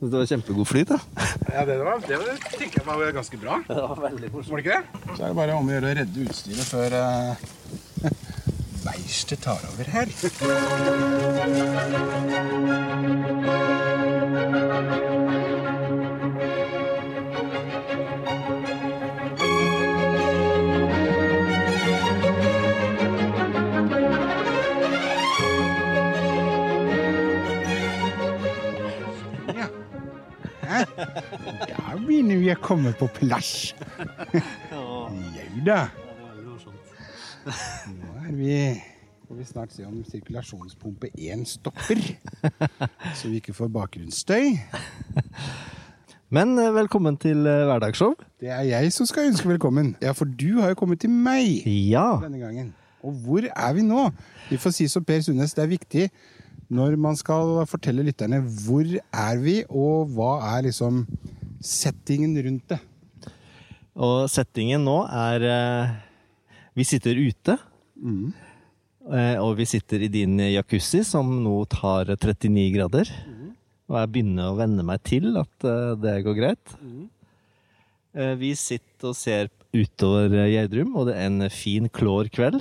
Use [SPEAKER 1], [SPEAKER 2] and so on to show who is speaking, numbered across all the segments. [SPEAKER 1] Det var kjempegod flyt, da.
[SPEAKER 2] Ja, det, var, det var, tenker jeg var ganske bra.
[SPEAKER 1] Det var veldig morsomt.
[SPEAKER 2] Var det ikke det? Så er det bare om å gjøre å redde utstyret før uh, beistet tar over her. Ja. Hæ? Da begynner vi å komme på plass. Jau da. Nå er vi får vi snart se om sirkulasjonspumpe 1 stopper, så vi ikke får bakgrunnsstøy.
[SPEAKER 1] Men eh, velkommen til eh, hverdagsshow.
[SPEAKER 2] Det er jeg som skal ønske velkommen. Ja, for du har jo kommet til meg
[SPEAKER 1] Ja.
[SPEAKER 2] denne gangen. Og hvor er vi nå? Vi får si som Per Sundnes, det er viktig når man skal fortelle lytterne hvor er vi, og hva er liksom settingen rundt det.
[SPEAKER 1] Og settingen nå er eh, Vi sitter ute. Mm. Eh, Og vi sitter i din jacuzzi, som nå tar 39 grader. Og jeg begynner å venne meg til at eh, det går greit. Eh, Vi sitter og ser utover eh, Gjerdrum, og det er en fin, klår kveld.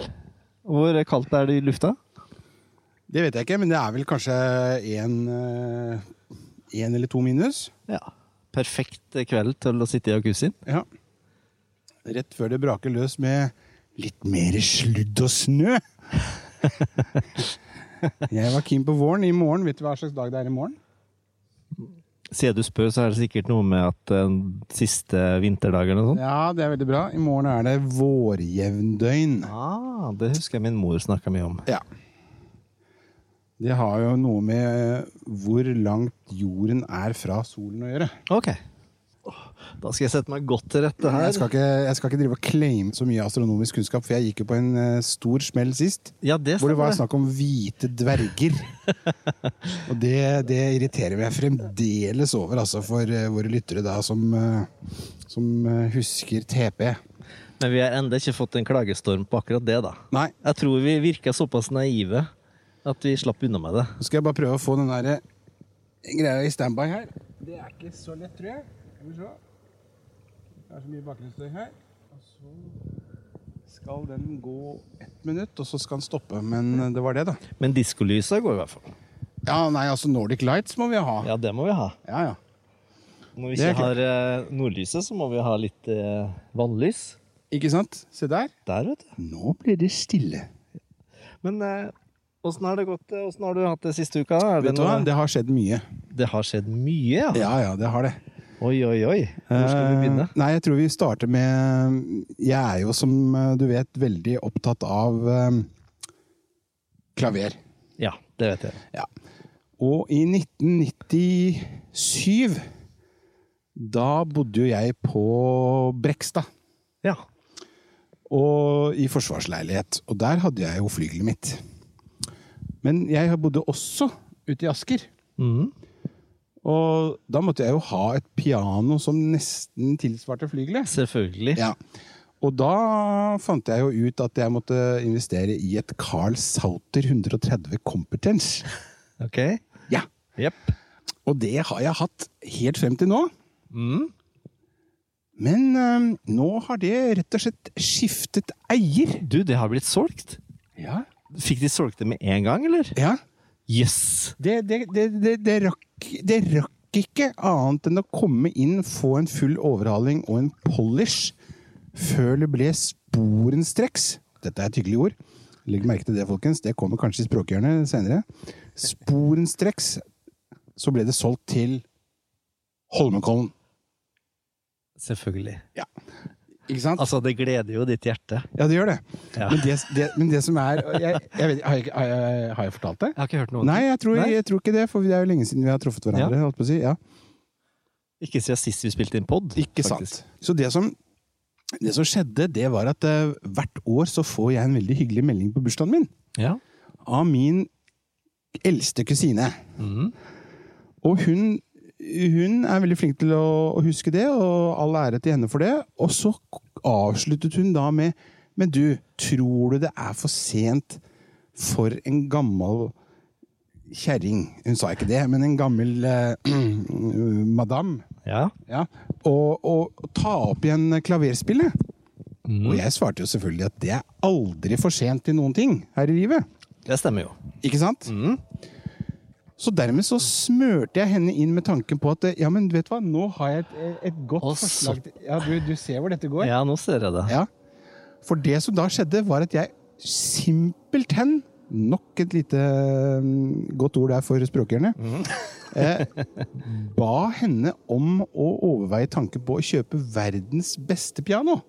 [SPEAKER 1] Hvor kaldt er det i lufta?
[SPEAKER 2] Det vet jeg ikke, men det er vel kanskje én eller to minus.
[SPEAKER 1] Ja. Perfekt kveld til å sitte i jacuzzien.
[SPEAKER 2] Ja. Rett før det braker løs med litt mer sludd og snø. Jeg var keen på våren. I morgen, vet du hva slags dag det er i morgen?
[SPEAKER 1] Siden du spør, så er det sikkert noe med at eh, siste vinterdag eller noe sånt.
[SPEAKER 2] Ja, det er veldig bra. I morgen er det vårjevndøgn.
[SPEAKER 1] Ah, det husker jeg min mor snakka mye om.
[SPEAKER 2] Ja. Det har jo noe med hvor langt jorden er fra solen å gjøre.
[SPEAKER 1] Ok. Da skal jeg sette meg godt til rette
[SPEAKER 2] Jeg
[SPEAKER 1] her.
[SPEAKER 2] skal ikke, jeg skal ikke drive og claime så mye astronomisk kunnskap, for jeg gikk jo på en eh, stor smell sist.
[SPEAKER 1] Ja, det
[SPEAKER 2] Hvor det var
[SPEAKER 1] stemmer.
[SPEAKER 2] snakk om hvite dverger. Og det, det irriterer meg fremdeles over, altså, for eh, våre lyttere da, som, eh, som eh, husker TP.
[SPEAKER 1] Men vi har ennå ikke fått en klagestorm på akkurat det, da.
[SPEAKER 2] Nei,
[SPEAKER 1] Jeg tror vi virka såpass naive at vi slapp unna med det.
[SPEAKER 2] nå skal jeg bare prøve å få den der eh, greia i standby her. Det er ikke så lett, tror jeg. Skal vi se. Det er så mye bakgrunnsstøy her. Og så skal den gå ett minutt, og så skal den stoppe. Men eh, det var det, da.
[SPEAKER 1] Men diskolysa går i hvert fall.
[SPEAKER 2] Ja, nei, altså Nordic Lights må vi ha.
[SPEAKER 1] Ja, det må vi ha.
[SPEAKER 2] Ja, ja.
[SPEAKER 1] Når vi
[SPEAKER 2] Det er
[SPEAKER 1] ikke har eh, nordlyset, så må vi ha litt eh, vannlys.
[SPEAKER 2] Ikke sant? Se der.
[SPEAKER 1] Der, vet du.
[SPEAKER 2] Nå blir det stille.
[SPEAKER 1] Men eh, åssen har det gått? eh, Åssen har du hatt det siste uka? da? Er det,
[SPEAKER 2] Vet du hva?
[SPEAKER 1] noe-
[SPEAKER 2] Det har skjedd mye.
[SPEAKER 1] det har skjedd mye, ja.
[SPEAKER 2] Ja, ja, det har det.
[SPEAKER 1] Oi, oi, oi. Hvor skal vi begynne?
[SPEAKER 2] Eh, Nei, jeg tror vi starter med Jeg er jo, som eh, du vet, veldig opptatt av eh, klaver.
[SPEAKER 1] Ja, det vet jeg.
[SPEAKER 2] Ja. Og i 1997 da bodde jo jeg på Brekstad,
[SPEAKER 1] Ja.
[SPEAKER 2] og i forsvarsleilighet. Og der hadde jeg jo flygelet mitt. Men jeg bodde også ute i Asker.
[SPEAKER 1] Mhm.
[SPEAKER 2] Og da måtte jeg jo ha et piano som nesten tilsvarte flygelet.
[SPEAKER 1] Selvfølgelig.
[SPEAKER 2] Ja. Og da fant jeg jo ut at jeg måtte investere i et Carl Sauter 130 Competence.
[SPEAKER 1] Ok.
[SPEAKER 2] Ja.
[SPEAKER 1] Jepp.
[SPEAKER 2] Og det har jeg hatt helt frem til nå.
[SPEAKER 1] Mm.
[SPEAKER 2] Men øhm, nå har det rett og slett skiftet eier.
[SPEAKER 1] Du, det har blitt solgt.
[SPEAKER 2] Ja.
[SPEAKER 1] Fikk de solgt det med en gang, eller?
[SPEAKER 2] ja.
[SPEAKER 1] Yes!
[SPEAKER 2] Det, det, det, det, det, rakk, det rakk ikke annet enn å komme inn, få en full overhaling og en polish før det ble sporenstreks. Dette er et hyggelig ord. Legg merke til det, folkens. Det kommer kanskje i språkhjørnet senere. Sporenstreks så ble det solgt til Holmenkollen.
[SPEAKER 1] Selvfølgelig.
[SPEAKER 2] Ikke sant?
[SPEAKER 1] Altså, det gleder jo ditt hjerte.
[SPEAKER 2] Ja, det gjør det.
[SPEAKER 1] Ja.
[SPEAKER 2] Men det, det, men det som er jeg, jeg vet, ikke, har, jeg, ikke- har, jeg, har jeg fortalt det?
[SPEAKER 1] Jeg har ikke hørt noe om
[SPEAKER 2] Nei,
[SPEAKER 1] det.
[SPEAKER 2] jeg tror,
[SPEAKER 1] Nei.
[SPEAKER 2] jeg tror ikke det, for det er jo lenge siden vi har truffet hverandre. Holdt på å si. ja.
[SPEAKER 1] Ikke siden sist vi spilte inn pod.
[SPEAKER 2] Ikke sant. Så det som, det som skjedde, det var at eh, hvert år så får jeg en veldig hyggelig melding på bursdagen min.
[SPEAKER 1] Ja.
[SPEAKER 2] Av min eldste kusine.
[SPEAKER 1] Mhm.
[SPEAKER 2] Og hun, hun er veldig flink til å, å huske det, og all ære til henne for det. Og så avsluttet hun da med Men du, tror du det er for sent for en gammel kjerring. Hun sa ikke det, men en gammel eh, madam.
[SPEAKER 1] Ja.
[SPEAKER 2] Ja. Og, og ta opp igjen klaverspillet. Og jeg svarte jo selvfølgelig at det er aldri for sent til noen ting her i livet.
[SPEAKER 1] Det stemmer jo.
[SPEAKER 2] Ikke sant? Så dermed så smørte jeg henne inn med tanken på at eh, ja, men vet du hva, nå har jeg et, et godt
[SPEAKER 1] Og så-
[SPEAKER 2] forslag til Ja, du, du ser hvor dette går.
[SPEAKER 1] Ja, nå ser jeg det.
[SPEAKER 2] Ja. For det som da skjedde, var at jeg simpelthen Nok et lite mm, godt ord der for språkhjørnet. eh, ba henne om å overveie tanken på å kjøpe verdens beste piano,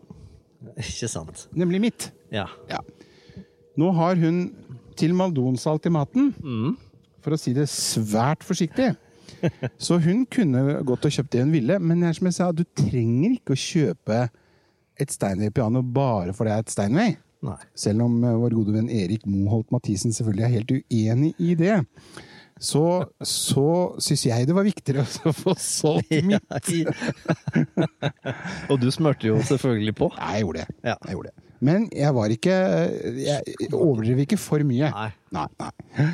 [SPEAKER 1] Ikke sant.
[SPEAKER 2] nemlig mitt.
[SPEAKER 1] Ja.
[SPEAKER 2] Ja. Nå har hun til maldonsalt i maten, for å si det svært forsiktig. Så hun kunne gått og kjøpt det hun ville, men det er som jeg sa, du trenger ikke å kjøpe et Steinway-piano bare fordi det er et Steinway.
[SPEAKER 1] Nei.
[SPEAKER 2] Selv om eh, vår gode venn Erik Moholt Mathisen selvfølgelig er helt uenig i det. Så, så syns jeg det var viktigere å få solgt mitt.
[SPEAKER 1] Og du smurte jo selvfølgelig på.
[SPEAKER 2] Nei, jeg gjorde det.
[SPEAKER 1] Ja.
[SPEAKER 2] Jeg gjorde det. Men jeg var ikke Jeg overdrev ikke for mye.
[SPEAKER 1] Nei.
[SPEAKER 2] Nei, nei.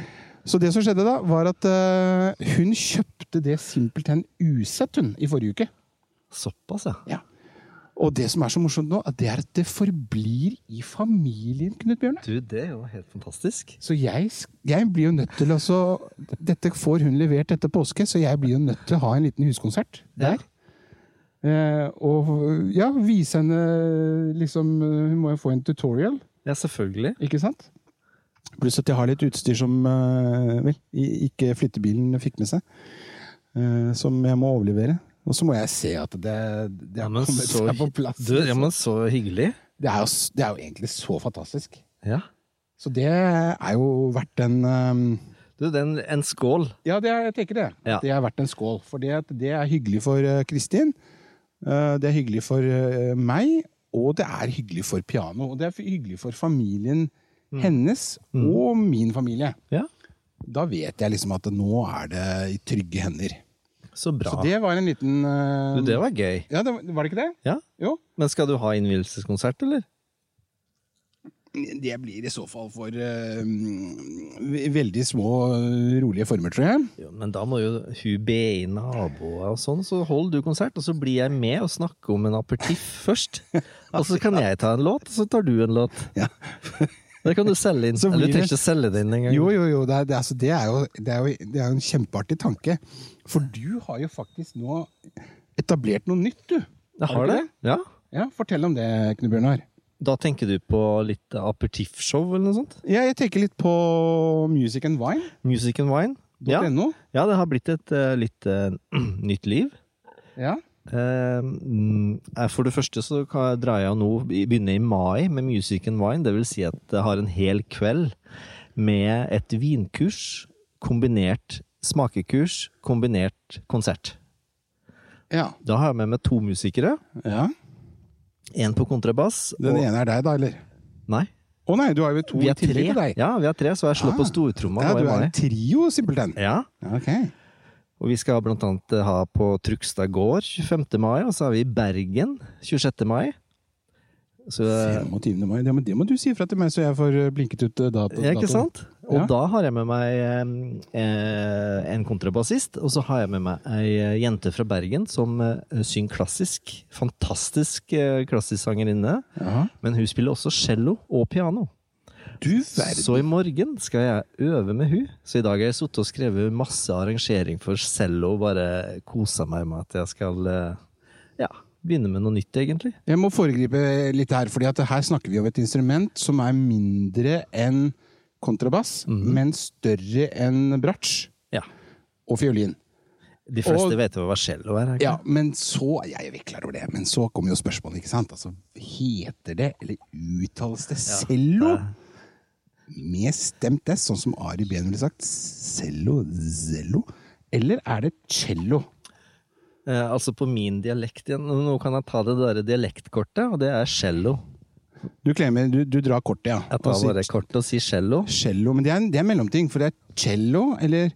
[SPEAKER 2] Så det som skjedde da, var at eh, hun kjøpte det simpelthen usett, hun, i forrige uke.
[SPEAKER 1] Såpass, ja.
[SPEAKER 2] Ja. Og det som er så morsomt nå, at det er at det forblir i familien, Knut Bjørne.
[SPEAKER 1] Du, det er jo helt fantastisk.
[SPEAKER 2] Så jeg, sk- jeg blir jo nødt til å så- Dette får hun levert etter påske, så jeg blir jo nødt til å ha en liten huskonsert der. Eh, og ja, vise henne liksom eh, Hun må jo få en tutorial,
[SPEAKER 1] Ja, selvfølgelig.
[SPEAKER 2] ikke sant? Pluss at jeg har litt utstyr som eh, vel, i- ikke flyttebilen fikk med seg. eh, som jeg må overlevere. Og så må jeg se at det, det
[SPEAKER 1] Ja,
[SPEAKER 2] har
[SPEAKER 1] men
[SPEAKER 2] kommet
[SPEAKER 1] så,
[SPEAKER 2] seg på plass.
[SPEAKER 1] du, ja, men så hyggelig.
[SPEAKER 2] det, er jo, s- det er jo egentlig så fantastisk.
[SPEAKER 1] Ja.
[SPEAKER 2] Så det er jo verdt en eh,
[SPEAKER 1] Du, det er en- en skål.
[SPEAKER 2] Ja, det er, jeg tenker det.
[SPEAKER 1] Ja.
[SPEAKER 2] Det er verdt en skål. For det, at det er hyggelig for eh, Kristin. eh, det er hyggelig for eh, meg. Og det er hyggelig for piano. Og det er hyggelig for familien
[SPEAKER 1] Mm.
[SPEAKER 2] hennes og min familie.
[SPEAKER 1] Ja.
[SPEAKER 2] Da vet jeg liksom at nå er det i trygge hender.
[SPEAKER 1] Så bra.
[SPEAKER 2] Så det var en liten eh,
[SPEAKER 1] Du, det var gøy.
[SPEAKER 2] ja, det, var- var det ikke det?
[SPEAKER 1] Ja.
[SPEAKER 2] Jo.
[SPEAKER 1] Men skal du ha innvielseskonsert, eller?
[SPEAKER 2] Det blir i så fall for eh, mm, veldig små, eh, rolige former, tror jeg.
[SPEAKER 1] Jo, men da må jo hun be inn naboer og sånn, så hold du konsert, og så blir jeg med og snakker om en aperitiff først. Og så kan jeg ta en låt, og så tar du en låt.
[SPEAKER 2] Ja.
[SPEAKER 1] Det kan du selge inn.
[SPEAKER 2] Så
[SPEAKER 1] Eller du
[SPEAKER 2] blir
[SPEAKER 1] trenger
[SPEAKER 2] det-
[SPEAKER 1] ikke å selge det inn engang.
[SPEAKER 2] Jo, jo, jo. Det er, det, er- altså, det, er jo, det, er jo, det er jo en kjempeartig tanke. For du har jo faktisk nå etablert noe nytt, du.
[SPEAKER 1] Jeg har
[SPEAKER 2] du
[SPEAKER 1] det.
[SPEAKER 2] ikke
[SPEAKER 1] Ja.
[SPEAKER 2] Ja, Fortell om det, Knut Bjørnar.
[SPEAKER 1] Da tenker du på litt aperitiffshow eller noe sånt?
[SPEAKER 2] Ja, jeg tenker litt på musicandvine.no.
[SPEAKER 1] Music and wine? Ja, ja det har blitt et eh, litt eh, nytt liv.
[SPEAKER 2] Ja.
[SPEAKER 1] Eh, mm, eh, For det første så kan jeg- drar jeg nå begynne i mai med Music and Wine. Det vil si at jeg har en hel kveld med et vinkurs, kombinert smakekurs, kombinert konsert.
[SPEAKER 2] ja.
[SPEAKER 1] Da har jeg med meg to musikere.
[SPEAKER 2] ja.
[SPEAKER 1] Én på kontrabass.
[SPEAKER 2] Den
[SPEAKER 1] og,
[SPEAKER 2] ene er deg, da, eller?
[SPEAKER 1] nei,
[SPEAKER 2] Å nei, du har jo to
[SPEAKER 1] vi
[SPEAKER 2] i
[SPEAKER 1] er
[SPEAKER 2] tillegg
[SPEAKER 1] tre.
[SPEAKER 2] til deg.
[SPEAKER 1] Ja, vi er tre, så jeg slår på
[SPEAKER 2] Ah.
[SPEAKER 1] stortromma
[SPEAKER 2] Ja,
[SPEAKER 1] nå i
[SPEAKER 2] du er
[SPEAKER 1] mai.
[SPEAKER 2] en trio, simpelthen.
[SPEAKER 1] Ja,
[SPEAKER 2] Ja, ok.
[SPEAKER 1] og vi skal blant annet eh, ha på Trugstad gård 25. mai, og så er vi i Bergen 26. mai. Så, eh,
[SPEAKER 2] 25. mai. Ja, men det må du si ifra til meg, så jeg får eh, blinket ut eh, dato.
[SPEAKER 1] Ja, ikke
[SPEAKER 2] datoen.
[SPEAKER 1] sant? Og
[SPEAKER 2] Ja.
[SPEAKER 1] da har jeg med meg eh, en kontrabassist, og så har jeg med meg ei eh, jente fra Bergen som eh, synger klassisk. Fantastisk eh, klassisk sangerinne.
[SPEAKER 2] Ja.
[SPEAKER 1] Men hun spiller også cello og piano.
[SPEAKER 2] Du verden.
[SPEAKER 1] Så i morgen skal jeg øve med hun. Så i dag har jeg sittet og skrevet masse arrangering for cello og bare kosa meg med at jeg skal eh, ja, begynne med noe nytt, egentlig.
[SPEAKER 2] Jeg må foregripe litt her, fordi at her snakker vi om et instrument som er mindre enn kontrabass,
[SPEAKER 1] Mhm.
[SPEAKER 2] men større enn bratsj
[SPEAKER 1] Ja.
[SPEAKER 2] og fiolin.
[SPEAKER 1] De fleste
[SPEAKER 2] Og-
[SPEAKER 1] vet jo hva cello er. ikke?
[SPEAKER 2] Ja, men så Jeg er vel klar over det, men så kommer jo spørsmålet, ikke sant? Altså, heter det, eller uttales det, cello? Med stemt S, sånn som Ari Behn ville sagt. Cello, zello. Eller er det cello?
[SPEAKER 1] Eh, altså på min dialekt igjen. Nå kan jeg ta det der dialektkortet, og det er cello.
[SPEAKER 2] Du klemmer, du, du drar kortet, ja.
[SPEAKER 1] Jeg
[SPEAKER 2] Og
[SPEAKER 1] tar
[SPEAKER 2] sier
[SPEAKER 1] bare kortet og sier cello.
[SPEAKER 2] cello, men det er, en- det er en mellomting, for det er cello, eller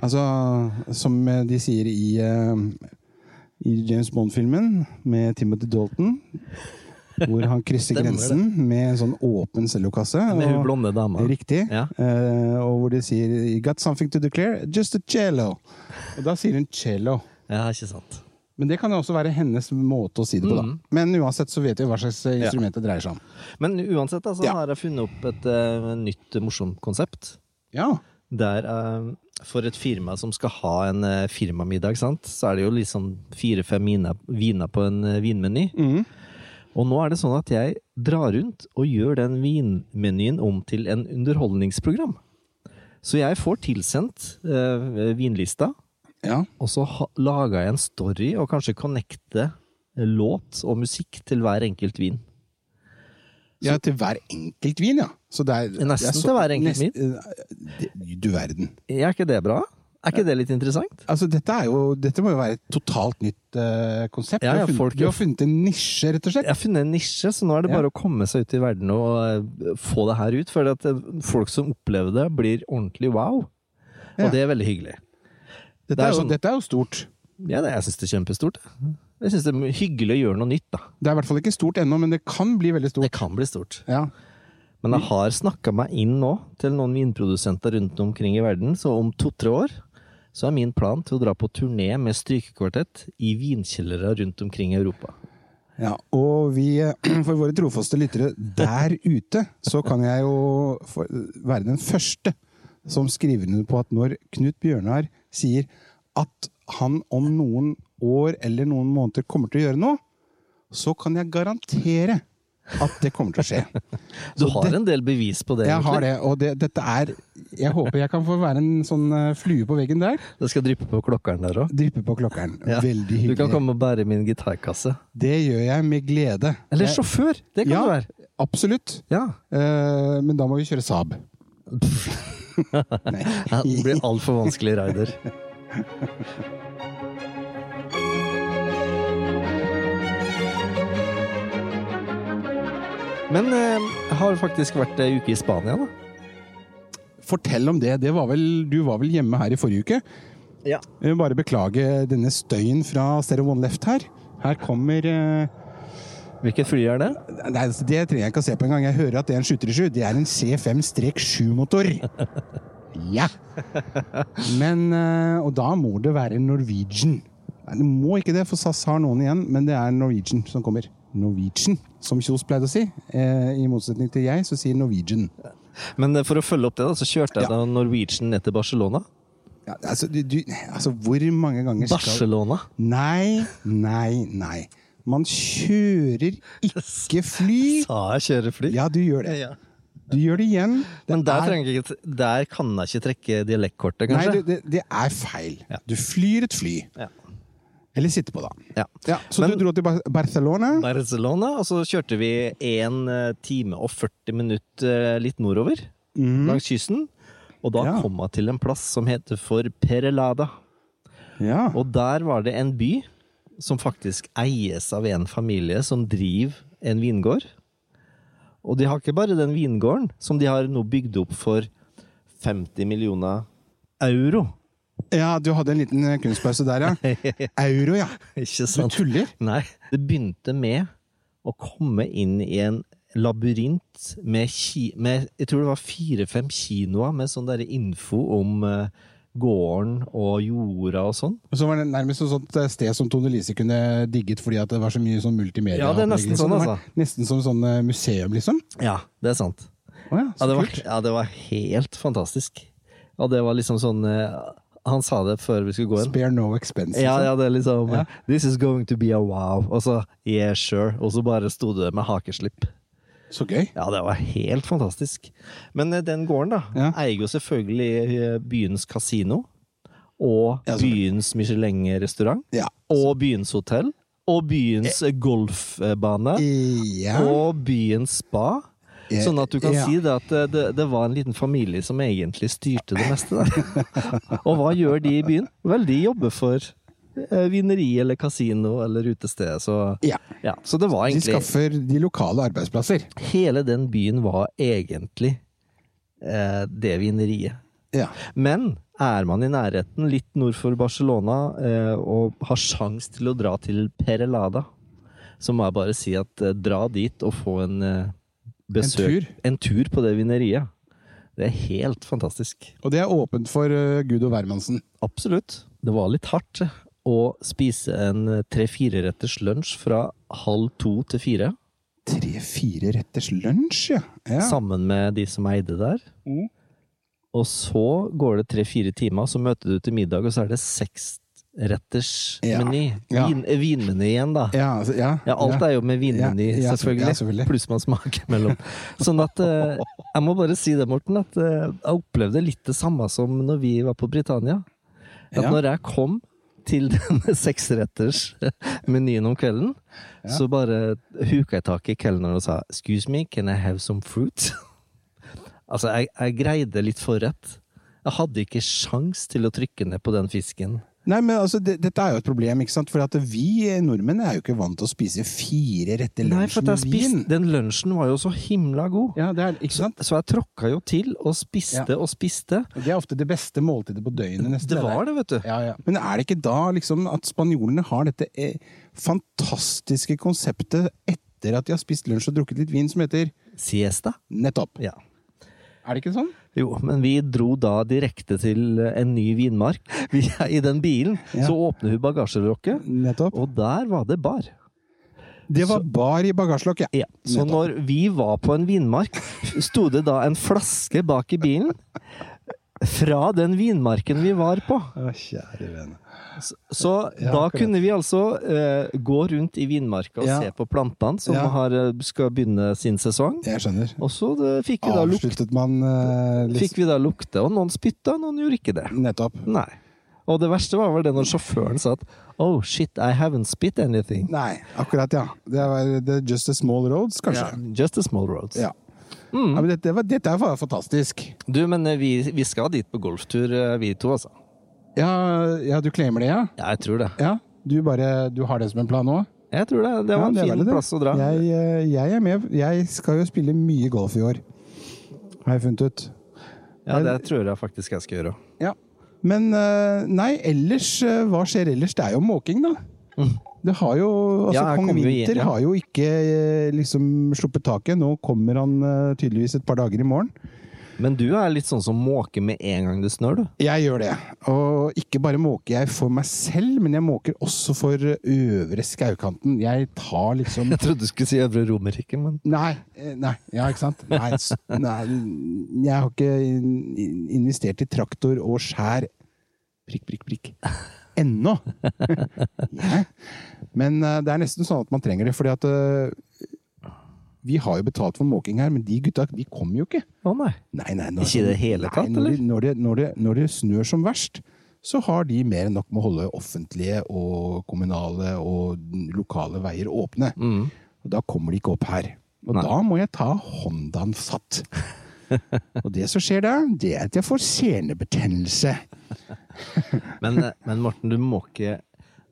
[SPEAKER 2] altså, som de sier eh, i, eh, i James Bond-filmen med Timothy Dalton. Hvor han krysser
[SPEAKER 1] Stemmer
[SPEAKER 2] grensen med en sånn åpen cellokasse.
[SPEAKER 1] Med hun
[SPEAKER 2] og-
[SPEAKER 1] blonde dama.
[SPEAKER 2] Riktig.
[SPEAKER 1] Ja.
[SPEAKER 2] Eh, og hvor de sier You got something to declare? Just a cello. Og da sier hun cello.
[SPEAKER 1] Ja, ikke sant.
[SPEAKER 2] Men det kan jo også være hennes måte å si det på,
[SPEAKER 1] Mm.
[SPEAKER 2] da. Men uansett så vet vi hva slags eh, instrument det dreier seg om.
[SPEAKER 1] Men uansett da, så
[SPEAKER 2] Ja.
[SPEAKER 1] har jeg funnet opp et eh, nytt eh, morsomt konsept.
[SPEAKER 2] Ja.
[SPEAKER 1] Der eh, for et firma som skal ha en eh, firmamiddag, sant? så er det jo liksom fire-fem viner- viner på en eh, vinmeny.
[SPEAKER 2] Mhm.
[SPEAKER 1] Og nå er det sånn at jeg drar rundt og gjør den vinmenyen om til en underholdningsprogram. Så jeg får tilsendt eh, vinlista,
[SPEAKER 2] ja.
[SPEAKER 1] og så ha, lager jeg en story og kanskje connecte eh, låt og musikk til hver enkelt vin.
[SPEAKER 2] Ja, til hver enkelt vin, ja. Så det er,
[SPEAKER 1] Nesten
[SPEAKER 2] det er
[SPEAKER 1] til hver enkelt
[SPEAKER 2] vin. Du verden.
[SPEAKER 1] Er ikke det bra? Er ikke det litt interessant?
[SPEAKER 2] Altså, dette, er jo, dette må jo være et totalt nytt eh, konsept.
[SPEAKER 1] Ja,
[SPEAKER 2] du,
[SPEAKER 1] ja,
[SPEAKER 2] har funnet,
[SPEAKER 1] folk-
[SPEAKER 2] du har funnet en nisje, rett og slett.
[SPEAKER 1] Jeg har funnet en nisje, så nå er det
[SPEAKER 2] Ja.
[SPEAKER 1] bare å komme seg ut i verden og eh, få det her ut. For at eh, folk som opplever det, blir ordentlig wow.
[SPEAKER 2] Ja.
[SPEAKER 1] Og det er veldig hyggelig.
[SPEAKER 2] Dette,
[SPEAKER 1] det er
[SPEAKER 2] er jo,
[SPEAKER 1] sånn-
[SPEAKER 2] dette er jo stort.
[SPEAKER 1] Ja, det, jeg syns det er kjempestort. jeg. Jeg syns det er hyggelig å gjøre noe nytt, da.
[SPEAKER 2] Det er i hvert fall ikke stort ennå, men det kan bli veldig
[SPEAKER 1] Det
[SPEAKER 2] stort.
[SPEAKER 1] kan bli stort.
[SPEAKER 2] Ja.
[SPEAKER 1] Men jeg har snakka meg inn nå til noen vinprodusenter rundt omkring i verden, så om to-tre år så er min plan til å dra på turné med strykekvartett i vinkjellere rundt omkring i Europa.
[SPEAKER 2] Ja, og vi, eh, for våre trofaste lyttere der ute, så kan jeg jo for- være den første som skriver under på at når Knut Bjørnar sier at han om noen år eller noen måneder kommer til å gjøre noe, så kan jeg garantere at det kommer til å skje.
[SPEAKER 1] Du har en del bevis på det.
[SPEAKER 2] Jeg har
[SPEAKER 1] egentlig.
[SPEAKER 2] det, og det, dette er Jeg håper jeg kan få være en sånn eh, flue på veggen der.
[SPEAKER 1] Det skal dryppe på klokkeren der òg.
[SPEAKER 2] Dryppe på klokkeren. Veldig
[SPEAKER 1] Du kan
[SPEAKER 2] hyggelig.
[SPEAKER 1] komme og bære min gitarkasse.
[SPEAKER 2] Det gjør jeg med glede.
[SPEAKER 1] Eller
[SPEAKER 2] Jeg-
[SPEAKER 1] sjåfør! Det kan
[SPEAKER 2] Ja.
[SPEAKER 1] du være.
[SPEAKER 2] Absolutt.
[SPEAKER 1] Ja.
[SPEAKER 2] Eh, men da må vi kjøre Saab. Nei.
[SPEAKER 1] Ja, Det blir altfor vanskelig, Raider. Men eh, jeg har faktisk vært ei uke i Spania, da.
[SPEAKER 2] Fortell om det. det var vel, du var vel hjemme her i forrige uke?
[SPEAKER 1] Ja.
[SPEAKER 2] Jeg vil bare beklage denne støyen fra Stereo One Left her. Her kommer eh,
[SPEAKER 1] Hvilket fly er det?
[SPEAKER 2] Nei, altså, det trenger jeg ikke å se på engang. Jeg hører at det er en 737. Det er en C5-7-motor. Ja! Men eh, Og da må det være Norwegian. Nei, det må ikke det, for SAS har noen igjen, men det er Norwegian som kommer. Norwegian, som Kjos pleide å si. Eh, I motsetning til jeg, så sier Norwegian.
[SPEAKER 1] Men eh, for å følge opp det, da, så kjørte jeg
[SPEAKER 2] Ja.
[SPEAKER 1] da Norwegian ned til Barcelona.
[SPEAKER 2] Ja, altså, du, du, altså, hvor mange ganger skal
[SPEAKER 1] Barcelona!
[SPEAKER 2] Nei, nei, nei. Man kjører ikke fly.
[SPEAKER 1] Sa jeg kjører fly?
[SPEAKER 2] Ja, du gjør det.
[SPEAKER 1] Ja.
[SPEAKER 2] Du gjør det igjen. Det
[SPEAKER 1] Men der,
[SPEAKER 2] er-
[SPEAKER 1] trenger jeg ikke, der kan jeg ikke trekke dialektkortet,
[SPEAKER 2] Nei,
[SPEAKER 1] kanskje?
[SPEAKER 2] du, det, det er feil.
[SPEAKER 1] Ja.
[SPEAKER 2] Du flyr et fly.
[SPEAKER 1] Ja.
[SPEAKER 2] Eller sitter på, da.
[SPEAKER 1] Ja.
[SPEAKER 2] Ja, så
[SPEAKER 1] Men-
[SPEAKER 2] du dro til Bar- Barcelona?
[SPEAKER 1] Barcelona, og så kjørte vi 1 time og 40 minutter litt nordover langs kysten. Og da
[SPEAKER 2] Ja.
[SPEAKER 1] kom jeg til en plass som heter for Perelada.
[SPEAKER 2] Ja.
[SPEAKER 1] Og der var det en by som faktisk eies av en familie som driver en vingård. Og de har ikke bare den vingården, som de har nå bygd opp for 50 millioner euro.
[SPEAKER 2] ja, du hadde en liten eh, kunstpause der, ja. Euro, ja.
[SPEAKER 1] Ikke
[SPEAKER 2] Du
[SPEAKER 1] sant?
[SPEAKER 2] tuller?
[SPEAKER 1] Nei, det begynte med å komme inn i en labyrint med, ki med jeg tror det var fire-fem kinoer med sånn derre info om eh, gården og jorda og sånn.
[SPEAKER 2] Og så var det nærmest et sånt eh, sted som Tone Lise kunne digget fordi at det var så mye sånn multimedia.
[SPEAKER 1] Ja, det er nesten sånn,
[SPEAKER 2] Det var Nesten som sånn eh, museum, liksom.
[SPEAKER 1] Ja, det er sant.
[SPEAKER 2] Å
[SPEAKER 1] Ja
[SPEAKER 2] ja, så
[SPEAKER 1] det, var,
[SPEAKER 2] kult.
[SPEAKER 1] ja, det var helt fantastisk. Og det var liksom sånn eh, Han sa det før vi skulle gå inn.
[SPEAKER 2] Spare no expense.
[SPEAKER 1] Ja,
[SPEAKER 2] liksom.
[SPEAKER 1] ja, det er liksom eh, This is going to be a wow. Og så yeah, sure. Og så bare sto det med hakeslipp.
[SPEAKER 2] liksom. Så gøy.
[SPEAKER 1] Ja, det var helt fantastisk. Men eh, den gården da,
[SPEAKER 2] Ja.
[SPEAKER 1] eier jo selvfølgelig eh, byens kasino, og
[SPEAKER 2] Ja, selvfølgelig.
[SPEAKER 1] byens Michelin-restaurant,
[SPEAKER 2] Ja.
[SPEAKER 1] og byens hotell, og byens eh, golfbane,
[SPEAKER 2] Ja.
[SPEAKER 1] og byens spa.
[SPEAKER 2] Eh,
[SPEAKER 1] Sånn at du kan
[SPEAKER 2] ja.
[SPEAKER 1] si det at eh, det, det var en liten familie som egentlig styrte det meste der. og hva gjør de i byen? Vel, de jobber for eh, vineri eller kasino eller utested, så
[SPEAKER 2] Ja.
[SPEAKER 1] ja. Så det var
[SPEAKER 2] De
[SPEAKER 1] egentlig
[SPEAKER 2] skaffer de lokale arbeidsplasser.
[SPEAKER 1] Hele den byen var egentlig eh, det vineriet.
[SPEAKER 2] Ja.
[SPEAKER 1] Men er man i nærheten, litt nord for Barcelona, eh, og har sjans til å dra til Perelada, så må jeg bare si at eh, dra dit og få en eh, besøk
[SPEAKER 2] tur?
[SPEAKER 1] En tur på det vineriet. Det er helt fantastisk.
[SPEAKER 2] Og det er åpent for eh, Gud og hvermannsen.
[SPEAKER 1] Absolutt. Det var litt hardt å spise en eh, tre-fire retters lunsj fra halv to til fire.
[SPEAKER 2] Tre-fire retters lunsj, ja. ja.
[SPEAKER 1] sammen med de som eide der.
[SPEAKER 2] Mm.
[SPEAKER 1] Og så går det tre-fire timer, så møter du til middag, og så er det
[SPEAKER 2] Ja.
[SPEAKER 1] seksrettersmeny.
[SPEAKER 2] Ja.
[SPEAKER 1] Vin, eh, vinmeny igjen, da.
[SPEAKER 2] Ja, altså, ja,
[SPEAKER 1] Ja, alt er jo med vinmeny,
[SPEAKER 2] Ja, ja,
[SPEAKER 1] selvfølgelig.
[SPEAKER 2] ja, selvfølgelig.
[SPEAKER 1] Pluss man smaker mellom. Sånn at eh, Jeg må bare si det, Morten, at eh, jeg opplevde litt det samme som når vi var på Britannia. At
[SPEAKER 2] Ja.
[SPEAKER 1] når jeg kom til denne seksretters-menyen om kvelden, så bare huka jeg tak i kelneren og sa 'excuse me, can I have some fruit?' altså, jeg, jeg greide litt forrett. Jeg hadde ikke sjans til å trykke ned på den fisken.
[SPEAKER 2] Nei, men altså, det, Dette er jo et problem, ikke sant? for at vi eh, nordmenn er jo ikke vant til å spise fire retter
[SPEAKER 1] Nei, for
[SPEAKER 2] lunsj
[SPEAKER 1] at
[SPEAKER 2] med
[SPEAKER 1] jeg
[SPEAKER 2] vin.
[SPEAKER 1] spiste, den lunsjen var jo så himla god.
[SPEAKER 2] Ja, det er, ikke sant?
[SPEAKER 1] Så jeg tråkka jo til og spiste og spiste.
[SPEAKER 2] Det er ofte det beste måltidet på døgnet. nesten.
[SPEAKER 1] Det var det, vet du.
[SPEAKER 2] Ja, ja. Men er det ikke da liksom, at spanjolene har dette eh, fantastiske konseptet etter at de har spist lunsj og drukket litt vin, som heter
[SPEAKER 1] Siesta.
[SPEAKER 2] nettopp?
[SPEAKER 1] Ja.
[SPEAKER 2] Er det ikke sånn?
[SPEAKER 1] Jo, men vi dro da direkte til en ny vinmark. Vi er I den bilen
[SPEAKER 2] Ja.
[SPEAKER 1] så åpner hun bagasjelokket,
[SPEAKER 2] Nettopp.
[SPEAKER 1] og der var det bar.
[SPEAKER 2] Det var bar i bagasjelokket.
[SPEAKER 1] Ja. Så
[SPEAKER 2] Nettopp.
[SPEAKER 1] når vi var på en vinmark, sto det da en flaske bak i bilen fra den vinmarken vi var på.
[SPEAKER 2] Å, kjære vene.
[SPEAKER 1] Så
[SPEAKER 2] Ja,
[SPEAKER 1] da
[SPEAKER 2] akkurat.
[SPEAKER 1] kunne vi altså eh, gå rundt i vinmarka og
[SPEAKER 2] Ja.
[SPEAKER 1] se på plantene som
[SPEAKER 2] Ja.
[SPEAKER 1] har, eh, skal begynne sin sesong.
[SPEAKER 2] Jeg skjønner.
[SPEAKER 1] Og så eh, fikk vi da lukte.
[SPEAKER 2] Avsluttet man eh, litt
[SPEAKER 1] Fikk vi da lukte, og noen spytta, noen gjorde ikke det.
[SPEAKER 2] Nettopp.
[SPEAKER 1] Nei. Og det verste var vel det når sjåføren sa at Oh shit, I haven't spit anything.
[SPEAKER 2] Nei, akkurat, ja. Det var det er Just a Small Roads, kanskje.
[SPEAKER 1] Just a small roads.
[SPEAKER 2] Ja.
[SPEAKER 1] Mm.
[SPEAKER 2] ja men dette, var, dette var fantastisk.
[SPEAKER 1] Du, men eh, vi, vi skal dit på golftur, eh, vi to, altså.
[SPEAKER 2] Ja, ja, du claimer det, ja?
[SPEAKER 1] Ja, jeg tror det.
[SPEAKER 2] Ja. Du, bare, du har det som en plan nå?
[SPEAKER 1] Jeg tror det. Det
[SPEAKER 2] Ja,
[SPEAKER 1] var en
[SPEAKER 2] det er
[SPEAKER 1] fin
[SPEAKER 2] veldig det.
[SPEAKER 1] plass å dra.
[SPEAKER 2] Jeg, eh, jeg er med. Jeg skal jo spille mye golf i år, har jeg funnet ut.
[SPEAKER 1] Ja, det tror jeg faktisk jeg skal gjøre.
[SPEAKER 2] Ja. Men eh, nei, ellers eh, Hva skjer ellers? Det er jo måking, da. Det har jo, altså
[SPEAKER 1] Mm. Ja, jeg
[SPEAKER 2] Kong
[SPEAKER 1] kommer jo
[SPEAKER 2] Winter
[SPEAKER 1] igjen, ja.
[SPEAKER 2] har jo ikke eh, liksom sluppet taket. Nå kommer han eh, tydeligvis et par dager i morgen.
[SPEAKER 1] Men du er litt sånn som måker med en gang det snør, du.
[SPEAKER 2] Jeg gjør det. Og ikke bare måker jeg for meg selv, men jeg måker også for eh, øvre skaukanten. Jeg tar liksom
[SPEAKER 1] Jeg trodde du skulle si Øvre Romerike, men
[SPEAKER 2] Nei, eh, nei, ja, ikke sant? Nei, s- nei, jeg har ikke in- in- investert i traktor og skjær prikk, prikk, prikk ennå. Nei. Men eh, det er nesten sånn at man trenger det, fordi at eh, vi har jo betalt for måking her, men de gutta de kommer jo ikke.
[SPEAKER 1] Å nei.
[SPEAKER 2] Nei, nei, når,
[SPEAKER 1] Ikke i det hele tatt,
[SPEAKER 2] nei, når de- Når det, når, det, når det snør som verst, så har de mer enn nok med å holde offentlige og kommunale og lokale veier åpne.
[SPEAKER 1] Mm.
[SPEAKER 2] Og da kommer de ikke opp her. Og
[SPEAKER 1] Nei.
[SPEAKER 2] da må jeg ta Hondaen fatt. og det som skjer da, det er at jeg får senebetennelse.
[SPEAKER 1] Men, eh, men Morten, du må ikke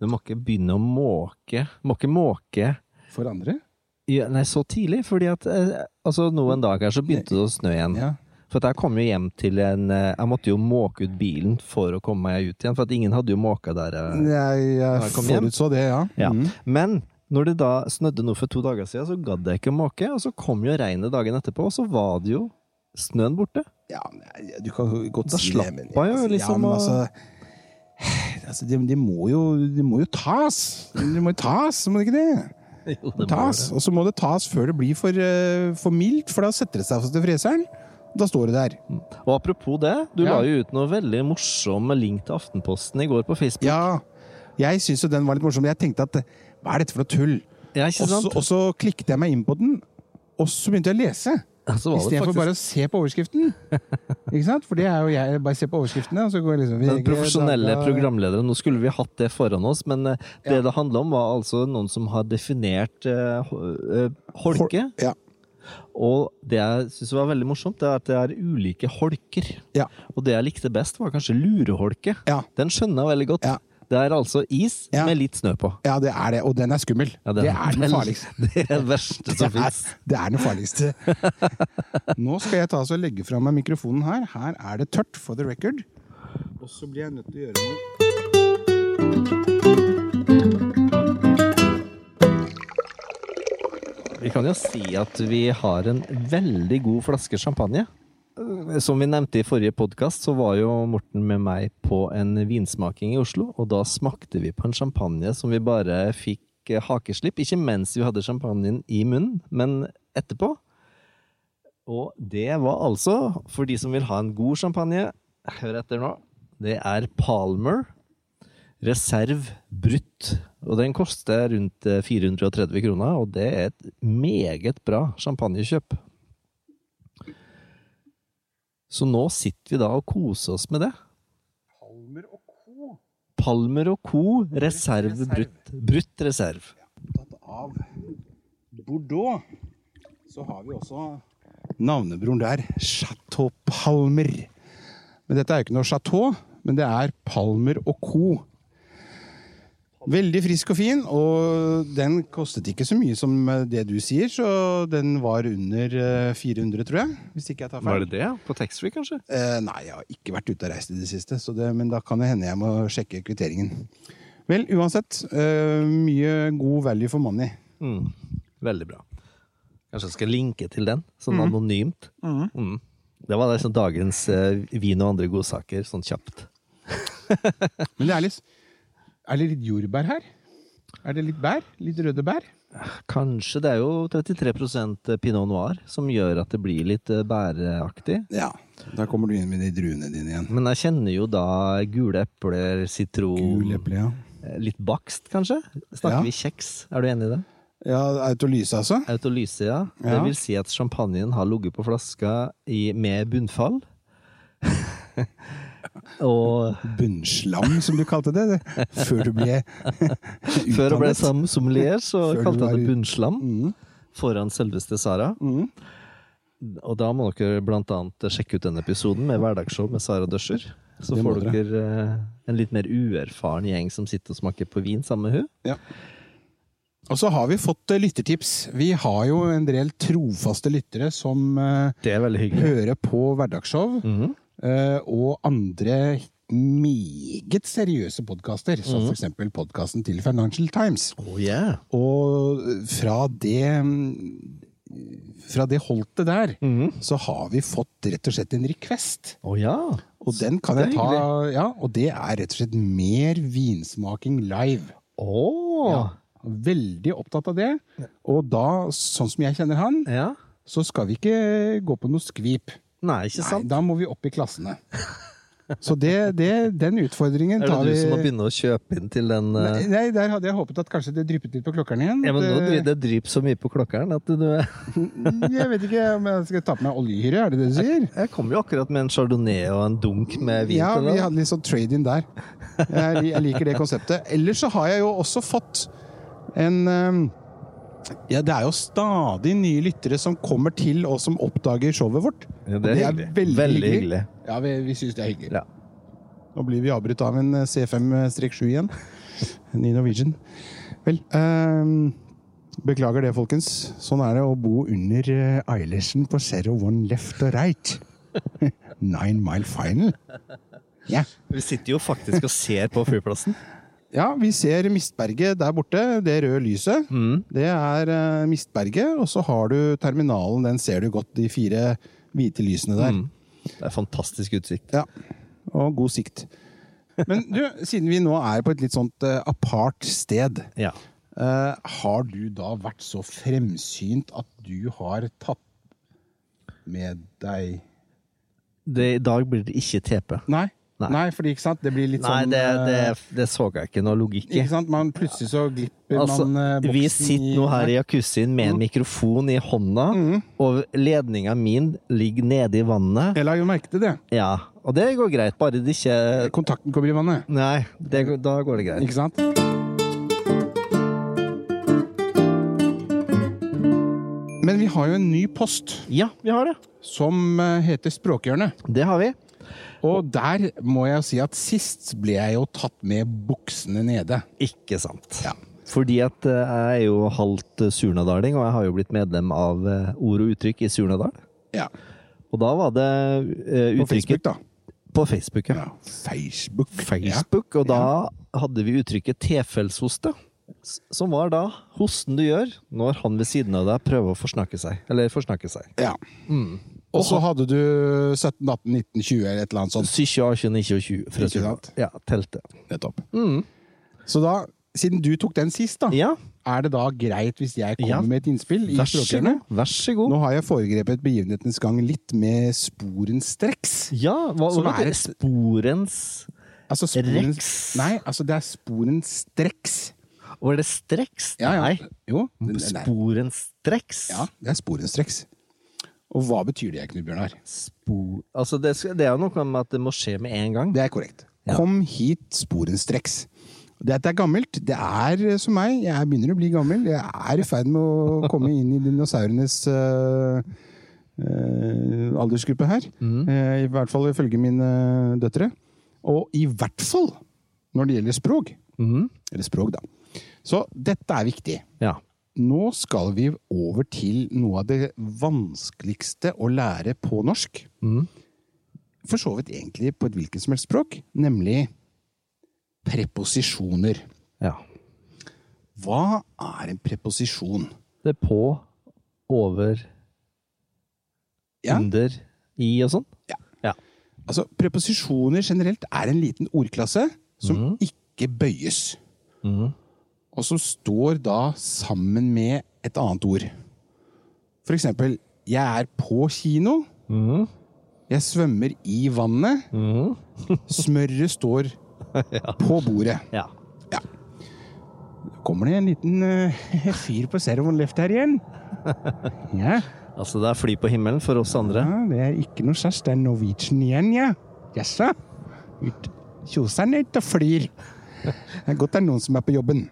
[SPEAKER 1] Du må ikke begynne å måke. Må ikke måke
[SPEAKER 2] For andre?
[SPEAKER 1] Ja, nei, så tidlig, fordi at eh, altså, nå en dag her så begynte det å snø igjen.
[SPEAKER 2] Ja.
[SPEAKER 1] For at jeg kom jo hjem til en eh, Jeg måtte jo måke ut bilen for å komme meg ut igjen, for at ingen hadde jo måka der. eh.
[SPEAKER 2] Jeg, jeg
[SPEAKER 1] jeg kom hjem.
[SPEAKER 2] forutså det, ja.
[SPEAKER 1] Ja.
[SPEAKER 2] Mm.
[SPEAKER 1] Men når det da snødde nå for to dager siden, så gadd jeg ikke å måke, og så kom jo regnet dagen etterpå, og så var det jo snøen borte.
[SPEAKER 2] ja nei, du kan godt
[SPEAKER 1] Da
[SPEAKER 2] si
[SPEAKER 1] slapp
[SPEAKER 2] det, men,
[SPEAKER 1] man jo liksom
[SPEAKER 2] ja, men
[SPEAKER 1] å-
[SPEAKER 2] altså, altså de, de, må jo, de må jo tas! De må jo tas, må de ikke det?
[SPEAKER 1] Jo,
[SPEAKER 2] Det tas, og så må det tas før det blir for, eh, for mildt, for da setter det seg fast i freseren. Da står det der.
[SPEAKER 1] Og apropos det, du
[SPEAKER 2] Ja.
[SPEAKER 1] la jo ut noe veldig morsom link til Aftenposten i går på Facebook.
[SPEAKER 2] Ja, jeg syns jo den var litt morsom. Jeg tenkte at eh, hva er dette for noe tull?
[SPEAKER 1] Ja, ikke
[SPEAKER 2] Og så-
[SPEAKER 1] sant?
[SPEAKER 2] Og så klikket jeg meg inn på den, og så begynte jeg å lese.
[SPEAKER 1] så
[SPEAKER 2] I
[SPEAKER 1] var det
[SPEAKER 2] stedet for
[SPEAKER 1] faktisk
[SPEAKER 2] bare å se på overskriften. Ikke sant? For det er jo jeg. Bare se på overskriftene. Og så går jeg liksom,
[SPEAKER 1] Den profesjonelle
[SPEAKER 2] Dagbladet-
[SPEAKER 1] programlederen. Nå skulle vi hatt det foran oss, men eh, det det handla om, var altså noen som har definert eh, ho- eh, holke.
[SPEAKER 2] Ja.
[SPEAKER 1] Og det jeg syns var veldig morsomt, det er at det er ulike holker.
[SPEAKER 2] Ja.
[SPEAKER 1] Og det jeg likte best, var kanskje lureholke.
[SPEAKER 2] Ja.
[SPEAKER 1] Den skjønner jeg veldig godt.
[SPEAKER 2] Ja.
[SPEAKER 1] Det er altså is
[SPEAKER 2] Ja.
[SPEAKER 1] med litt snø på.
[SPEAKER 2] ja, det er det. Og den er skummel.
[SPEAKER 1] Ja,
[SPEAKER 2] det, er den
[SPEAKER 1] vel-
[SPEAKER 2] farligste.
[SPEAKER 1] Det er det verste
[SPEAKER 2] Det
[SPEAKER 1] som
[SPEAKER 2] er,
[SPEAKER 1] fins.
[SPEAKER 2] det er den farligste. Nå skal jeg ta og så legge fra meg mikrofonen her. Her er det tørt, for the record. Og så blir jeg nødt til å gjøre noe
[SPEAKER 1] kan jo si at vi har en veldig god flaske champagne. Som vi nevnte i forrige podkast, så var jo Morten med meg på en vinsmaking i Oslo. Og da smakte vi på en champagne som vi bare fikk eh, hakeslipp. Ikke mens vi hadde champagnen i munnen, men etterpå. Og det var altså, for de som vil ha en god champagne, hør etter nå, det er Palmer Reserv Brutt. Og den koster rundt eh, 430 kroner, og det er et meget bra champagnekjøp. Så nå sitter vi da og koser oss med det.
[SPEAKER 2] Palmer og co.
[SPEAKER 1] Palmer og Co. Reserv Brutt. Brutt reserv.
[SPEAKER 2] Opptatt av Bordeaux, så har vi også navnebroren der, Chateau Palmer. Men dette er jo ikke noe chateau, men det er Palmer og co. Veldig frisk og fin, og den kostet ikke så mye som det du sier, så den var under eh, 400, tror jeg. Hvis ikke jeg tar feil.
[SPEAKER 1] det det? På taxfree, kanskje?
[SPEAKER 2] Eh, nei, jeg har ikke vært ute og reist i det siste, så det, men da kan det hende jeg må sjekke kvitteringen. Vel, uansett. eh, mye god value for money.
[SPEAKER 1] Mm. Veldig bra. Kanskje jeg skal linke til den, sånn
[SPEAKER 2] Mhm.
[SPEAKER 1] anonymt. Mm. Det var liksom dagens eh, vin og andre godsaker, sånn kjapt.
[SPEAKER 2] Men det er litt, er det litt jordbær her? Er det litt bær? Litt røde bær?
[SPEAKER 1] Kanskje det er jo 33 pinot noir som gjør at det blir litt eh, bæreaktig.
[SPEAKER 2] Ja. Da kommer du inn med de druene dine igjen.
[SPEAKER 1] Men jeg kjenner jo da gule epler, sitron
[SPEAKER 2] Gul eple, ja.
[SPEAKER 1] eh, Litt bakst, kanskje? Snakker
[SPEAKER 2] Ja.
[SPEAKER 1] vi kjeks? Er du enig i det?
[SPEAKER 2] ja Autolyse, altså?
[SPEAKER 1] Autolyse, ja. Det
[SPEAKER 2] Ja.
[SPEAKER 1] vil si at champagnen har ligget på flaska i, med bunnfall. og
[SPEAKER 2] Bunnslam, som du kalte det. det. Før du ble utdannet.
[SPEAKER 1] Før hun ble
[SPEAKER 2] sånn.
[SPEAKER 1] sammen sommelier, så
[SPEAKER 2] Før du
[SPEAKER 1] kalte
[SPEAKER 2] var
[SPEAKER 1] han det
[SPEAKER 2] i-
[SPEAKER 1] bunnslam
[SPEAKER 2] Mm.
[SPEAKER 1] foran selveste Sara.
[SPEAKER 2] Mm.
[SPEAKER 1] Og da må dere blant annet sjekke ut den episoden med hverdagsshow med Sara Døscher. Så
[SPEAKER 2] Det må
[SPEAKER 1] får dere, eh, en litt mer uerfaren gjeng som sitter og smaker på vin sammen med hun.
[SPEAKER 2] Ja. Og så har vi fått eh, lyttertips. Vi har jo en del trofaste lyttere som eh,
[SPEAKER 1] Det er veldig hyggelig.
[SPEAKER 2] hører på hverdagsshow.
[SPEAKER 1] Mhm.
[SPEAKER 2] eh, og andre meget seriøse podkaster, som for eksempel podkasten til Financial Times.
[SPEAKER 1] Oh, yeah.
[SPEAKER 2] Og fra det fra det holtet der,
[SPEAKER 1] Mhm.
[SPEAKER 2] så har vi fått rett og slett en request.
[SPEAKER 1] Å Oh, ja!
[SPEAKER 2] Og den kan
[SPEAKER 1] Det er
[SPEAKER 2] jeg ta, ja, og det er rett og slett mer vinsmaking live.
[SPEAKER 1] Å!
[SPEAKER 2] Veldig opptatt av det. Og da, sånn som jeg kjenner han,
[SPEAKER 1] Ja.
[SPEAKER 2] så skal vi ikke gå på noe skvip.
[SPEAKER 1] Nei, ikke
[SPEAKER 2] Nei,
[SPEAKER 1] sant?
[SPEAKER 2] da må vi opp i klassene. Så det, det, den utfordringen
[SPEAKER 1] er
[SPEAKER 2] tar
[SPEAKER 1] det
[SPEAKER 2] vi
[SPEAKER 1] du som må begynne å kjøpe inn til den eh,
[SPEAKER 2] Nei, Nei, der hadde jeg håpet at kanskje det dryppet litt på klokkeren igjen.
[SPEAKER 1] ja, men nå
[SPEAKER 2] At,
[SPEAKER 1] dry- Det dryper så mye på klokkeren at du
[SPEAKER 2] eh, Jeg vet ikke om jeg skal ta på meg oljehyre, er det det du sier?
[SPEAKER 1] Jeg kom jo akkurat med en chardonnay og en dunk med vin.
[SPEAKER 2] Ja,
[SPEAKER 1] til
[SPEAKER 2] vi
[SPEAKER 1] deg.
[SPEAKER 2] hadde litt sånn trade-in der. Jeg, jeg liker det konseptet. Ellers så har jeg jo også fått en eh, Ja, det er jo stadig nye lyttere som kommer til og som oppdager showet vårt.
[SPEAKER 1] Ja,
[SPEAKER 2] Og
[SPEAKER 1] det er hyggelig.
[SPEAKER 2] veldig,
[SPEAKER 1] Veldig
[SPEAKER 2] hyggelig.
[SPEAKER 1] hyggelig.
[SPEAKER 2] Ja, vi, vi syns det er hyggelig.
[SPEAKER 1] Ja.
[SPEAKER 2] Nå blir vi avbrutt av en eh, C5-7 igjen. En Ny Norwegian. Vel eh, Beklager det, folkens. Sånn er det å bo under eh, Eilertsen på Zero One left og right. Nine mile final. Ja.
[SPEAKER 1] Vi sitter jo faktisk og ser på flyplassen.
[SPEAKER 2] Ja, vi ser Mistberget der borte, det røde lyset.
[SPEAKER 1] Mm.
[SPEAKER 2] Det er eh, Mistberget, og så har du terminalen, den ser du godt, de fire hvite lysene der.
[SPEAKER 1] Det er fantastisk utsikt.
[SPEAKER 2] Ja, og god sikt. Men du, siden vi nå er på et litt sånt eh, apart sted,
[SPEAKER 1] Ja.
[SPEAKER 2] eh, har du da vært så fremsynt at du har tatt med deg
[SPEAKER 1] Det, I dag blir det ikke TP.
[SPEAKER 2] Nei,
[SPEAKER 1] Nei.
[SPEAKER 2] Nei fordi ikke sant, det blir litt
[SPEAKER 1] Nei,
[SPEAKER 2] sånn
[SPEAKER 1] det, det,
[SPEAKER 2] eh,
[SPEAKER 1] det så jeg ikke noe logikk i.
[SPEAKER 2] Ikke sant, man plutselig så glipper
[SPEAKER 1] Altså,
[SPEAKER 2] man eh, boksen Mm.
[SPEAKER 1] vi sitter nå her i jacuzzien med en mikrofon i hånda, og ledninga min ligger nede i vannet.
[SPEAKER 2] Jeg la jo merke til det.
[SPEAKER 1] Ja, og det går greit, bare det ikke
[SPEAKER 2] Kontakten kommer i vannet.
[SPEAKER 1] Nei, det, da går det greit.
[SPEAKER 2] Ikke sant? Men vi har jo en ny post
[SPEAKER 1] Ja, vi har det.
[SPEAKER 2] som eh, heter Språkhjørnet.
[SPEAKER 1] Det har vi.
[SPEAKER 2] Og der må jeg jo si at sist ble jeg jo tatt med buksene nede.
[SPEAKER 1] Ikke sant.
[SPEAKER 2] Ja.
[SPEAKER 1] Fordi at eh, jeg er jo halvt eh, surnadaling, og jeg har jo blitt medlem av eh, Ord og uttrykk i Surnadal.
[SPEAKER 2] Ja,
[SPEAKER 1] Og da var det eh,
[SPEAKER 2] På
[SPEAKER 1] uttrykket
[SPEAKER 2] Facebook, da.
[SPEAKER 1] På Facebook, ja.
[SPEAKER 2] Ja, Facebook.
[SPEAKER 1] Facebook, og da hadde vi uttrykket tilfelsoste.
[SPEAKER 2] Ja.
[SPEAKER 1] S- Som var da hosten du gjør når han ved siden av deg prøver å forsnakke seg. Eller forsnakke seg.
[SPEAKER 2] Ja.
[SPEAKER 1] Mm.
[SPEAKER 2] Og så hadde du 17, 18, 19, 20 eller et eller annet sånt.
[SPEAKER 1] 27, 29, for å si
[SPEAKER 2] Ikke
[SPEAKER 1] det.
[SPEAKER 2] sant?
[SPEAKER 1] Ja, teltet.
[SPEAKER 2] Nettopp. Mm. Så da, siden du tok den sist, da,
[SPEAKER 1] Ja,
[SPEAKER 2] er det da greit hvis jeg kommer
[SPEAKER 1] Ja.
[SPEAKER 2] med et innspill? i
[SPEAKER 1] vær så
[SPEAKER 2] Språkerne?
[SPEAKER 1] god. Vær så god.
[SPEAKER 2] Nå har jeg foregrepet begivenhetens gang litt med sporenstreks.
[SPEAKER 1] Ja, hva,
[SPEAKER 2] Som
[SPEAKER 1] hva
[SPEAKER 2] Sånn er
[SPEAKER 1] heter
[SPEAKER 2] et-
[SPEAKER 1] det? Sporens
[SPEAKER 2] Altså sporens-
[SPEAKER 1] Rex.
[SPEAKER 2] Nei, altså det er sporenstreks.
[SPEAKER 1] Var det streks?
[SPEAKER 2] Ja, ja.
[SPEAKER 1] Nei.
[SPEAKER 2] Jo. det- det- nei.
[SPEAKER 1] Sporens streks?
[SPEAKER 2] Ja, det er sporenstreks. Og hva betyr det, Knut Bjørnar?
[SPEAKER 1] Spor... Altså, det, skal- det er jo noe med at det må skje med en gang.
[SPEAKER 2] Det er korrekt.
[SPEAKER 1] Ja.
[SPEAKER 2] Kom hit sporenstreks. Dette er gammelt. Det er eh, som meg. Jeg begynner å bli gammel. Jeg er i ferd med å komme inn i dinosaurenes eh, eh, aldersgruppe her. Eh, I hvert fall ifølge mine døtre. Og i hvert fall når det gjelder språk. Eller språk, da. Så dette er viktig.
[SPEAKER 1] Ja.
[SPEAKER 2] Nå skal vi over til noe av det vanskeligste å lære på norsk.
[SPEAKER 1] Mm.
[SPEAKER 2] For så vidt egentlig på et hvilket som helst språk, nemlig preposisjoner.
[SPEAKER 1] ja.
[SPEAKER 2] Hva er en preposisjon?
[SPEAKER 1] Det er på, over,
[SPEAKER 2] Ja.
[SPEAKER 1] under, i og sånn.
[SPEAKER 2] Ja.
[SPEAKER 1] Ja.
[SPEAKER 2] Altså, preposisjoner generelt er en liten ordklasse som ikke bøyes. Og som står da sammen med et annet ord. For eksempel, jeg er på kino. Jeg svømmer i vannet. Smøret står på bordet.
[SPEAKER 1] ja.
[SPEAKER 2] Kommer det en liten eh, fyr på Zero Left her igjen? Ja.
[SPEAKER 1] Altså, det er fly på himmelen for oss andre.
[SPEAKER 2] Ja, det er ikke noe skjærs. Det er Norwegian igjen, ja. Jaså? Ut- Kjosan er ute og flyr. Det er godt det er noen som er på jobben.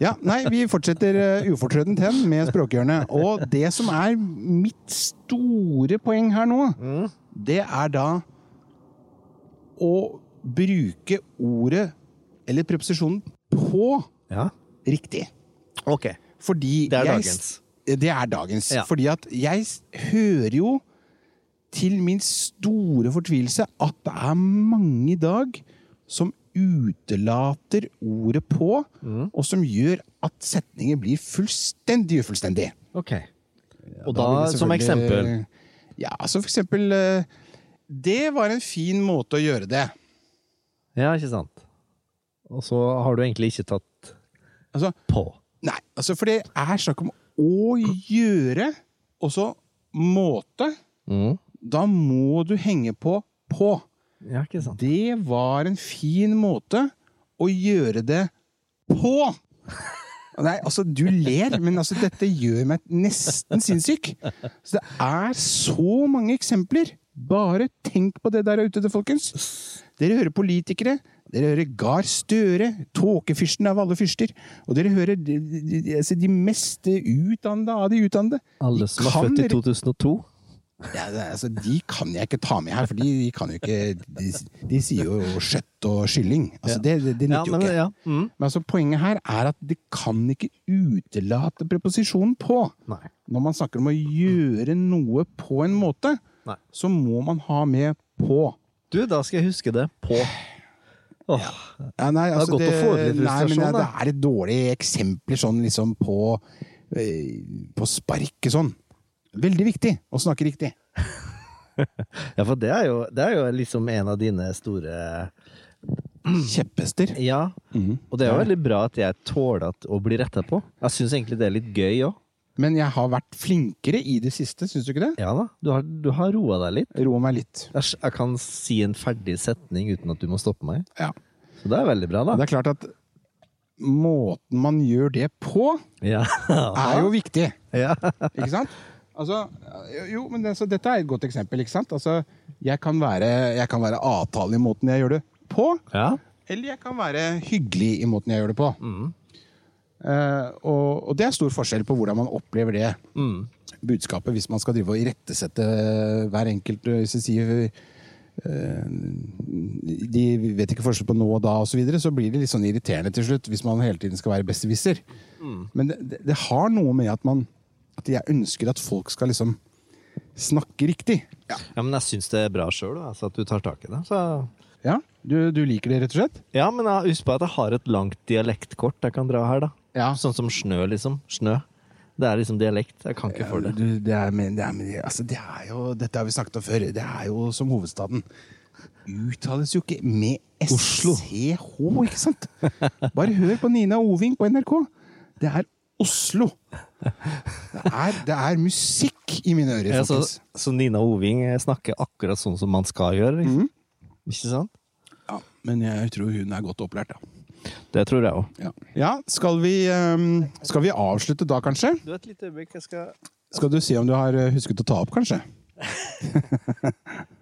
[SPEAKER 2] Ja, nei, vi fortsetter eh, ufortrødent hen med språkhjørnet. Og det som er mitt store poeng her nå, det er da å bruke ordet, eller preposisjonen, på
[SPEAKER 1] Ja.
[SPEAKER 2] riktig.
[SPEAKER 1] Ok.
[SPEAKER 2] Fordi
[SPEAKER 1] Det er
[SPEAKER 2] jeg,
[SPEAKER 1] dagens.
[SPEAKER 2] Det er dagens.
[SPEAKER 1] Ja.
[SPEAKER 2] Fordi at jeg s- hører jo til min store fortvilelse at det er mange i dag som utelater ordet på,
[SPEAKER 1] Mm.
[SPEAKER 2] og som gjør at setninger blir fullstendig ufullstendig.
[SPEAKER 1] Ok. Og da,
[SPEAKER 2] Da vil jeg
[SPEAKER 1] som eksempel
[SPEAKER 2] selvfølgelig- Ja, altså for eksempel eh, Det var en fin måte å gjøre det.
[SPEAKER 1] Ja, ikke sant? Og så har du egentlig ikke tatt
[SPEAKER 2] Altså,
[SPEAKER 1] på.
[SPEAKER 2] Nei, altså for det er snakk om å gjøre, og så måte.
[SPEAKER 1] Mhm.
[SPEAKER 2] Da må du henge på på.
[SPEAKER 1] Ja, ikke sant?
[SPEAKER 2] Det var en fin måte å gjøre det på. Nei, altså du ler, men altså dette gjør meg nesten sinnssyk. Så det er så mange eksempler. Bare tenk på det der ute, det, folkens. Dere hører politikere. Dere hører Gahr Støre, tåkefyrsten av alle fyrster. Og dere hører de, de, de, altså, de mest utdannede av de utdannede.
[SPEAKER 1] Alle
[SPEAKER 2] De
[SPEAKER 1] som er
[SPEAKER 2] kan
[SPEAKER 1] født i
[SPEAKER 2] re-
[SPEAKER 1] 2002.
[SPEAKER 2] ja, det, er- altså, de kan jeg ikke ta med her, for de, de kan jo ikke De, de sier jo kjøtt og kylling. Altså, det, det, det
[SPEAKER 1] Ja,
[SPEAKER 2] nytter
[SPEAKER 1] men
[SPEAKER 2] jo ikke.
[SPEAKER 1] ja. Mhm.
[SPEAKER 2] Men altså, poenget her er at de kan ikke utelate preposisjonen på.
[SPEAKER 1] Nei.
[SPEAKER 2] Når man snakker om å gjøre noe på en måte,
[SPEAKER 1] Nei.
[SPEAKER 2] så må man ha med på.
[SPEAKER 1] Du, da skal jeg huske det. På. Åh,
[SPEAKER 2] Ja, nei,
[SPEAKER 1] er
[SPEAKER 2] altså,
[SPEAKER 1] godt å få ut litt
[SPEAKER 2] nei, men
[SPEAKER 1] frustrasjon,
[SPEAKER 2] det, det
[SPEAKER 1] da.
[SPEAKER 2] er et dårlig eksempler sånn liksom på, eh, på sparket sånn. Veldig viktig å snakke riktig.
[SPEAKER 1] Ja, for det er, jo, det er jo liksom en av dine store
[SPEAKER 2] Kjepphester.
[SPEAKER 1] Mhm. Ja. Og det er jo veldig bra at jeg tåler at- å bli retta på. Jeg syns egentlig det er litt gøy òg.
[SPEAKER 2] Men jeg har vært flinkere i det siste, syns du ikke det?
[SPEAKER 1] Ja da. Du har, du har roa deg litt.
[SPEAKER 2] Roe meg litt.
[SPEAKER 1] Jeg, s- jeg kan si en ferdig setning uten at du må stoppe meg.
[SPEAKER 2] Ja.
[SPEAKER 1] Så det er veldig bra,
[SPEAKER 2] Og
[SPEAKER 1] da.
[SPEAKER 2] det er klart at måten man gjør det på,
[SPEAKER 1] Ja.
[SPEAKER 2] er jo viktig.
[SPEAKER 1] ja.
[SPEAKER 2] Ikke sant? Altså, jo, men altså, dette er et godt eksempel, ikke sant? Altså, jeg kan være, jeg kan være avtale i måten jeg gjør det på,
[SPEAKER 1] ja.
[SPEAKER 2] eller jeg kan være hyggelig i måten jeg gjør det på. Eh, og, og det er stor forskjell på hvordan man opplever det budskapet, hvis man skal drive og irettesette hver enkelt Hvis jeg sier eh, de vet ikke forskjell på nå og da osv., så, videre, så blir det litt sånn irriterende til slutt hvis man hele tiden skal være besserwisser. Men det, det, det har noe med at man At jeg ønsker at folk skal liksom snakke riktig. Ja.
[SPEAKER 1] Ja, men jeg syns det er bra sjøl, altså at du tar tak i det. Så
[SPEAKER 2] ja? Du, du liker det, rett og slett?
[SPEAKER 1] Ja, men jeg- husk på at jeg har et langt dialektkort jeg kan dra her, da.
[SPEAKER 2] Ja.
[SPEAKER 1] Sånn som snø, liksom. Snø. Det er liksom dialekt. Jeg kan ikke for det.
[SPEAKER 2] Du, det, er, men, det, er, men, altså, det er jo Dette har vi snakket om før. Det er jo som hovedstaden. Uttales jo ikke med
[SPEAKER 1] Oslo.
[SPEAKER 2] SCH, ikke sant? Bare hør på Nina Oving på NRK. Det er Oslo. Det er, det er musikk i mine ører,
[SPEAKER 1] Ja, så,
[SPEAKER 2] folkens.
[SPEAKER 1] så Nina Oving snakker akkurat sånn som man skal gjøre. Liksom. Ikke sant?
[SPEAKER 2] Ja, men jeg tror hun er godt opplært, ja.
[SPEAKER 1] Det tror jeg òg.
[SPEAKER 2] Ja, skal, vi, ehm, skal vi avslutte da, kanskje?
[SPEAKER 1] Du, et lite øyeblikk. Jeg skal
[SPEAKER 2] Skal du se om du har eh, husket å ta opp, kanskje?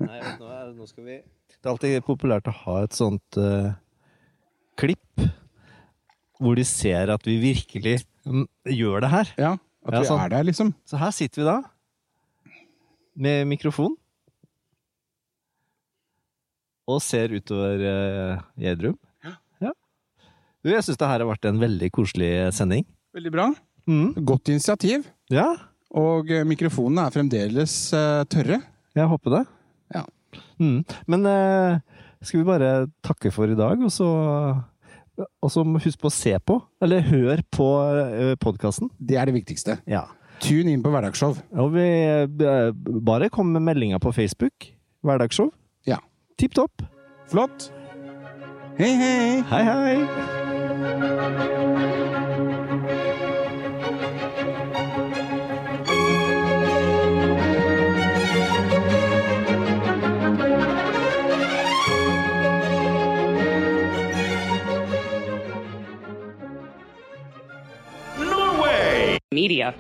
[SPEAKER 1] Nei, vent nå, er det- nå skal vi Det er alltid populært å ha et sånt eh, klipp hvor de ser at vi virkelig mm, gjør det her.
[SPEAKER 2] Ja, At
[SPEAKER 1] Ja,
[SPEAKER 2] vi
[SPEAKER 1] sånn.
[SPEAKER 2] er der, liksom?
[SPEAKER 1] Så her sitter vi da med mikrofon og ser utover eh, Gjerdrum. Ja. Du, jeg syns det her har vært en veldig koselig sending.
[SPEAKER 2] Veldig bra.
[SPEAKER 1] Mm.
[SPEAKER 2] Godt initiativ.
[SPEAKER 1] Ja,
[SPEAKER 2] Og eh, mikrofonene er fremdeles eh, tørre.
[SPEAKER 1] jeg håper det.
[SPEAKER 2] Ja.
[SPEAKER 1] Mm. Men eh, skal vi bare takke for i dag, og så og så husk på å se på, eller hør på eh, podkasten.
[SPEAKER 2] Det er det viktigste.
[SPEAKER 1] Ja.
[SPEAKER 2] Tune inn på hverdagsshow.
[SPEAKER 1] Og vi eh, bare kom med meldinga på Facebook. Hverdagsshow.
[SPEAKER 2] Ja.
[SPEAKER 1] Tipp topp.
[SPEAKER 2] Flott! Hei, hei!
[SPEAKER 1] Hei, hei!
[SPEAKER 3] media.